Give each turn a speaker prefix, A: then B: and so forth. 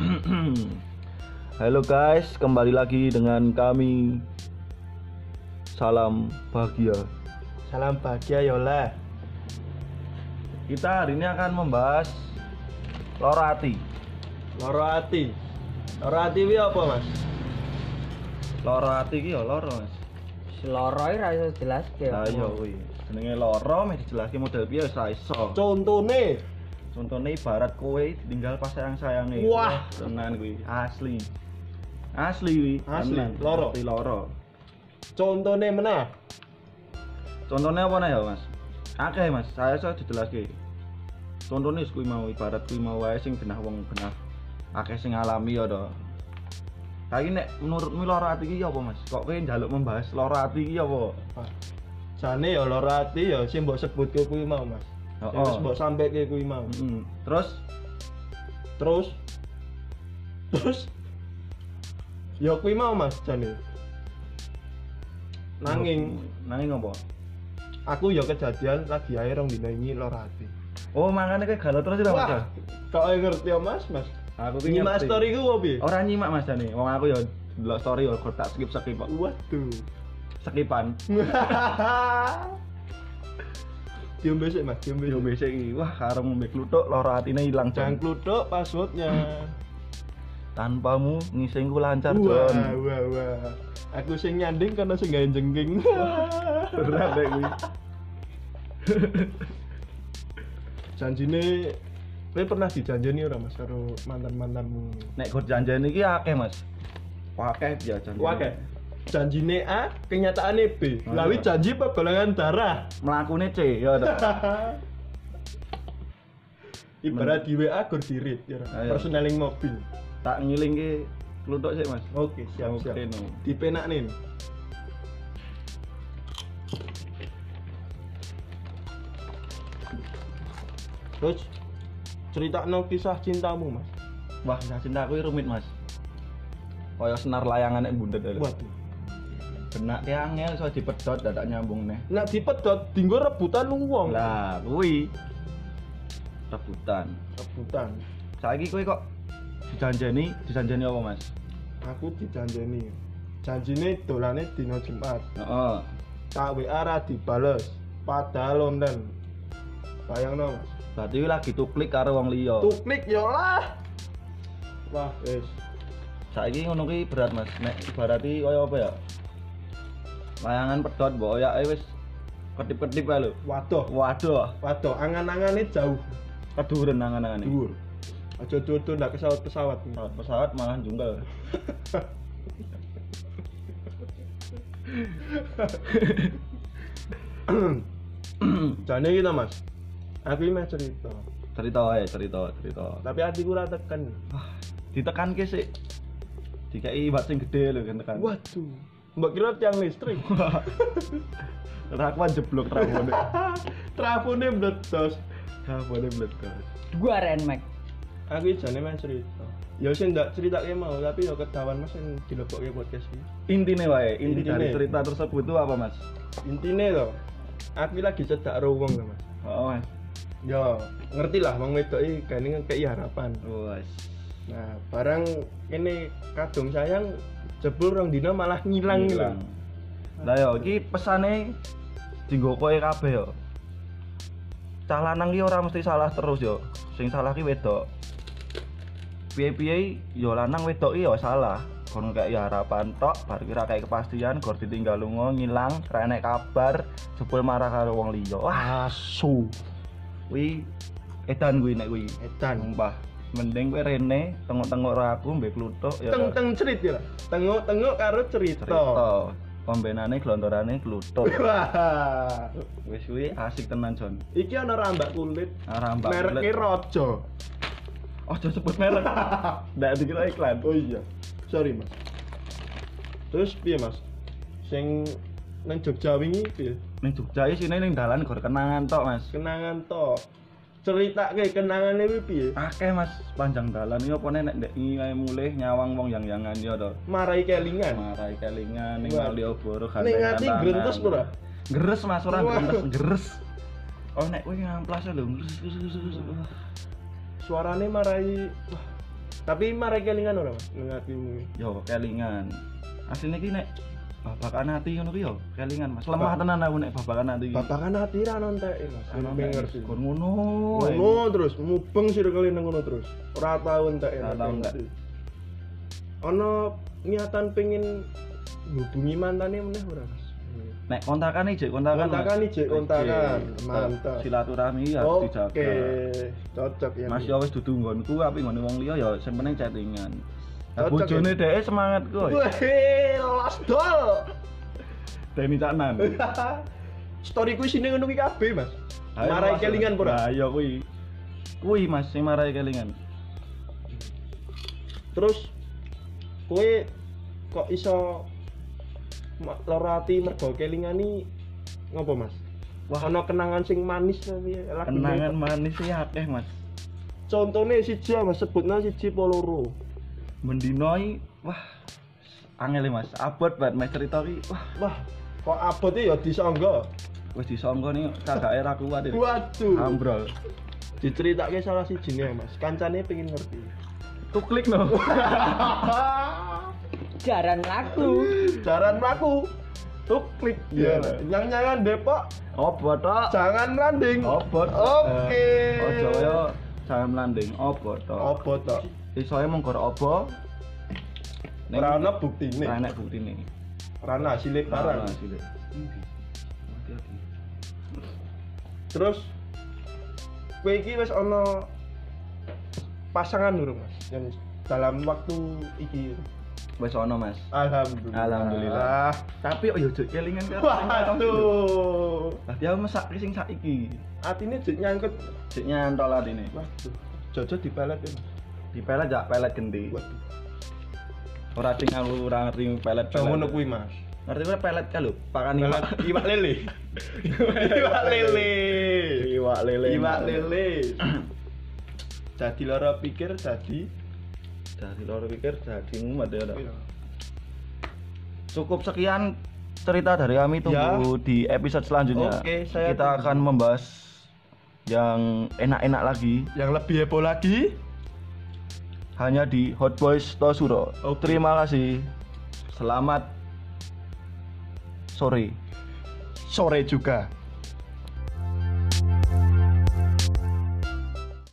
A: Hmm. Halo guys, kembali lagi dengan kami. Salam bahagia.
B: Salam bahagia ya Yola.
A: Kita hari ini akan membahas lora hati.
B: Loro ati. Loro ati wi apa, Mas?
A: Lora hati iki ya loro, Mas.
C: Loro iki ra iso jelaske.
A: Lah iya kuwi. Jenenge loro meh dijelaske model piye wis ra iso.
B: Contone
A: Contohnya ibarat kowe tinggal pas sayang-sayange.
B: Wah.
A: tenan kuwi asli. Asli kuwi.
B: Asli,
A: tenan.
B: loro.
A: Asli loro.
B: contone meneh.
A: Contohnya apa nih ya mas? Akeh mas, saya saya dijelaske. Contohnya kuwi mau ibarat kuwi mau wae sing benah wong benah. Akeh sing alami ya to. Saiki nek menurutmu lara ati iki apa mas? Kok kowe njaluk membahas lara ati iki apa?
B: Wah, Jane ya loro ati ya sing mbok sebutke kuwi mau, Mas. Sing
A: Oh, oh.
B: wis mbok sampeike kuwi mau.
A: Mm-mm. Terus
B: Terus terus ya kuwi mau, Mas, jane. Nanging
A: nanging apa?
B: aku ya kejadian lagi ae rong dina iki loro ati.
A: Oh, makanya kowe galau terus
C: Iya,
A: ya mas. ya?
B: Wah, kok ngerti ya, Mas, Mas?
A: Aku ki
B: Nyimak
A: ngerti.
B: story ku opo piye?
A: Ora nyimak Mas Dani. Wong aku ya ndelok story ya kok tak skip skip kok.
B: Waduh.
A: Skipan.
B: Diombe sik, Mas, diombe.
A: Yo wis iki wah karung ngombe kluthuk lara atine ilang Jon.
B: Jangan kluthuk passwordnya.
A: Tanpamu ngisingku lancar
B: Wah,
A: Jon.
B: wah, wah. Aku sing nyanding karena sing gawe jengking.
A: Berat deh kuwi.
B: Janjine kowe pernah dijanjeni ora Mas karo mantan-mantanmu?
A: Nek gur janjian iki akeh Mas. Akeh ya janjian.
B: Wah, kayak janjine A, kenyataannya B.
A: Ah,
B: Lawi
A: iya.
B: janji apa golongan darah?
A: Melakune C ya to.
B: Ibarat di WA gur dirit ya.
A: Ah, iya.
B: Personeling mobil.
A: Tak ngilingke kluthuk sik Mas.
B: Oke, siap,
A: Oke,
B: siap.
A: no.
B: Dipenak nih. Terus cerita kisah cintamu mas.
A: Wah, kisah cinta aku iki rumit Mas. Kaya senar layangan nek bundet. lho.
B: Waduh.
A: Benak ki angel iso dipedhot dah tak nyambung neh.
B: Nak dipedot, dinggo rebutan uang.
A: Lah, kuwi rebutan.
B: Rebutan.
A: Saiki kowe kok dijanjeni, dijanjeni apa, Mas?
B: Aku dijanjeni. Janjine dolane dino Jumat.
A: Heeh.
B: Tak WA ra dibales. Padahal londen. Bayangno mas.
A: Berarti kowe lagi tuklik karo wong liya.
B: Tuklik ya lah. Wah, wis.
A: Saiki ngono kuwi berat, Mas. Nek ibarati kaya apa ya? Layangan pedot mbok oyake wis ketip-ketip ae lho.
B: Waduh.
A: Waduh,
B: Waduh, angan-angane jauh
A: keduren angan-angane.
B: dhuwur. Aja dodo ndak pesawat pesawat.
A: Pesawat, pesawat malah jungkel.
B: Jane kita Mas. Aku ini meh cerita,
A: cerita ae, cerita, cerita.
B: tapi hatiku ora tekan.
A: Ditekan ke sik. Dikai bat sing gede lho kan tekan.
B: Waduh. Mbak kira tiang listrik.
A: Rakwan jeblok trawone.
B: Trafone meledos.
A: Trawone meledak.
C: Dua Renmax.
B: Aku ini jane meh cerita. Ya sing ndak ceritake mau, tapi ya ketahuan Mas sing dilebokke podcast iki.
A: intine wae inti
B: Intine.
A: dari cerita tersebut itu apa mas
B: Intine to, aku ini lagi cedak ro wong to, Mas.
A: oh mas
B: Ya, ngerti lah wong wedok iki gane ngekeki harapan.
A: Wes.
B: Nah, barang ini kadung sayang jebul rong dina malah ngilang gitu. ngilang.
A: Iya, lah yo iki pesane dinggo kowe kabeh yo cah lanang ki ora mesti salah terus yo sing salah ki wedok piye-piye yo lanang wedok ki yo salah kon kayak harapan tok bar kira kayak kepastian gor ditinggal lunga ngilang renek kabar jebul marah karo wong liya wah
B: Asu.
A: kuwi edan kuwi nek kuwi
B: Edan.
A: sumpah mending kowe rene tengok-tengok ra aku mbek kluthuk yo
B: Teng teng cerit ya. Tengok tengok karo cerita.
A: cerita pembenane glontorane kluthuk
B: Wah.
A: wis kuwi asik tenan Jon
B: Iki ana rambak kulit.
A: rambak
B: Mereknya Rojo.
A: ojo sebut merek ndak dikira iklan
B: Oh iya. Sorry, Mas. Terus piye, Mas? Sing nang Jogja wingi piye?
A: ning Jogja iki sine ning dalan gor kenangan tok Mas
B: Kenangan to. Ceritake kenangane kuwi piye?
A: akeh Mas panjang dalan yo opone nek ndek iki wae mulih nyawang wong yang-yangan yo to
B: Marai kelingan.
A: marai kelingan ning
B: Wah.
A: Malioboro
B: Ning ati
A: gantengan
B: grentes
A: tangan.
B: ora?
A: Geres Mas ora
B: Wah.
A: geres geres oh nek kowe ngamplas lho geres geres geres, geres.
B: Suarane marai wah, Tapi mari kelingan ora, Mas, nang atimu.
A: yo kelingan aslinya ki nek babakan hati ngono ki yo kelingan mas lemah tenan aku nek babakan hati
B: Babakan hati ra nontek, Mas.
A: Ana
B: Ben
A: nek
B: ngerti.
A: kon ngono ae.
B: Ngono terus mubeng circle nang ngono terus. Ora tau entek e,
A: Ora tau entek.
B: Ana niatan pengen hubungi mantane meneh ora, Mas?
A: nek kontakan iki kontakan Mas.
B: Kontakan iki, kontakan.
A: Iki, tetep
B: Mantap.
A: silaturahmi ya harus dijaga
B: Oke, cocok ya.
A: Mas
B: Mas.
A: yo wis dudu nggonku tapi nggone wong liya ya sing penting chattingan. Lah
B: Cocok,
A: bojone dhek semangat kowe.
B: Weh, los dol.
A: Deni caknan.
B: Story ku isine ngono ki kabeh, Mas.
A: Ayo,
B: Marai
A: Mas.
B: kelingan pura.
A: Lah iya kuwi. Kuwi Mas sing marai kelingan.
B: Terus kowe kok iso ma- lara ati mergo kelingan ni ngopo, Mas? Wah, ana kenangan sing manis tapi lagu
A: Kenangan manis ya akeh Mas.
B: Contone siji Mas, sebutna siji apa loro.
A: Mendinoi wah angel ya, Mas. Abot banget Mas cerita ki. Wah
B: Wah, kok abote ya disangga.
A: wis disangka nih kagak era kuat ya.
B: Waduh.
A: Ambrol.
B: Diceritake salah sijine, Mas. Kancane pengen ngerti.
A: Tuh klik no.
C: Jaran laku.
B: Jaran melaku.
A: Tuh klik.
B: Iya, nyang-nyangan Depok,
A: Opo tok?
B: jangan landing.
A: Opo. tok.
B: Oke.
A: Eh, Ojo yo jangan landing opo tok.
B: Opo tok?
A: isoe mung gor apa ning
B: Ora ana buktine.
A: ora enak buktine
B: Ora ana hasilé
A: barang
B: barang. Terus kowe iki wis ana pasangan durung, Mas? Yang dalam waktu iki.
A: wis ono mas
B: Alhamdulillah.
A: Alhamdulillah. tapi ojo jek kelingan karo
B: Waduh.
A: tapi aku mesak ki sing saiki
B: Atine jek nyangkut.
A: jek nyantol atine
B: Waduh. Jojo dipelet ya. Mas.
A: dipelet jak pelet genti
B: Waduh.
A: ora sing aku ora ngerti pelet
B: Jangan ngono
A: pelet
B: kuwi, Mas.
A: ngerti ora pelet ka lho pakan
B: Pelet iwak lele. Iwak lele.
A: iwak lele
B: Iwak lele. Jadi loro pikir jadi Iya.
A: dari loro pikir jadi mumet ya Dok. cukup sekian cerita dari kami tunggu di episode selanjutnya
B: Ya. Oke,
A: kita
B: saya tunggu.
A: akan membahas yang enak-enak lagi
B: yang lebih heboh lagi
A: hanya di Hot Boys Tosuro
B: Oke.
A: terima kasih selamat sore
B: sore juga.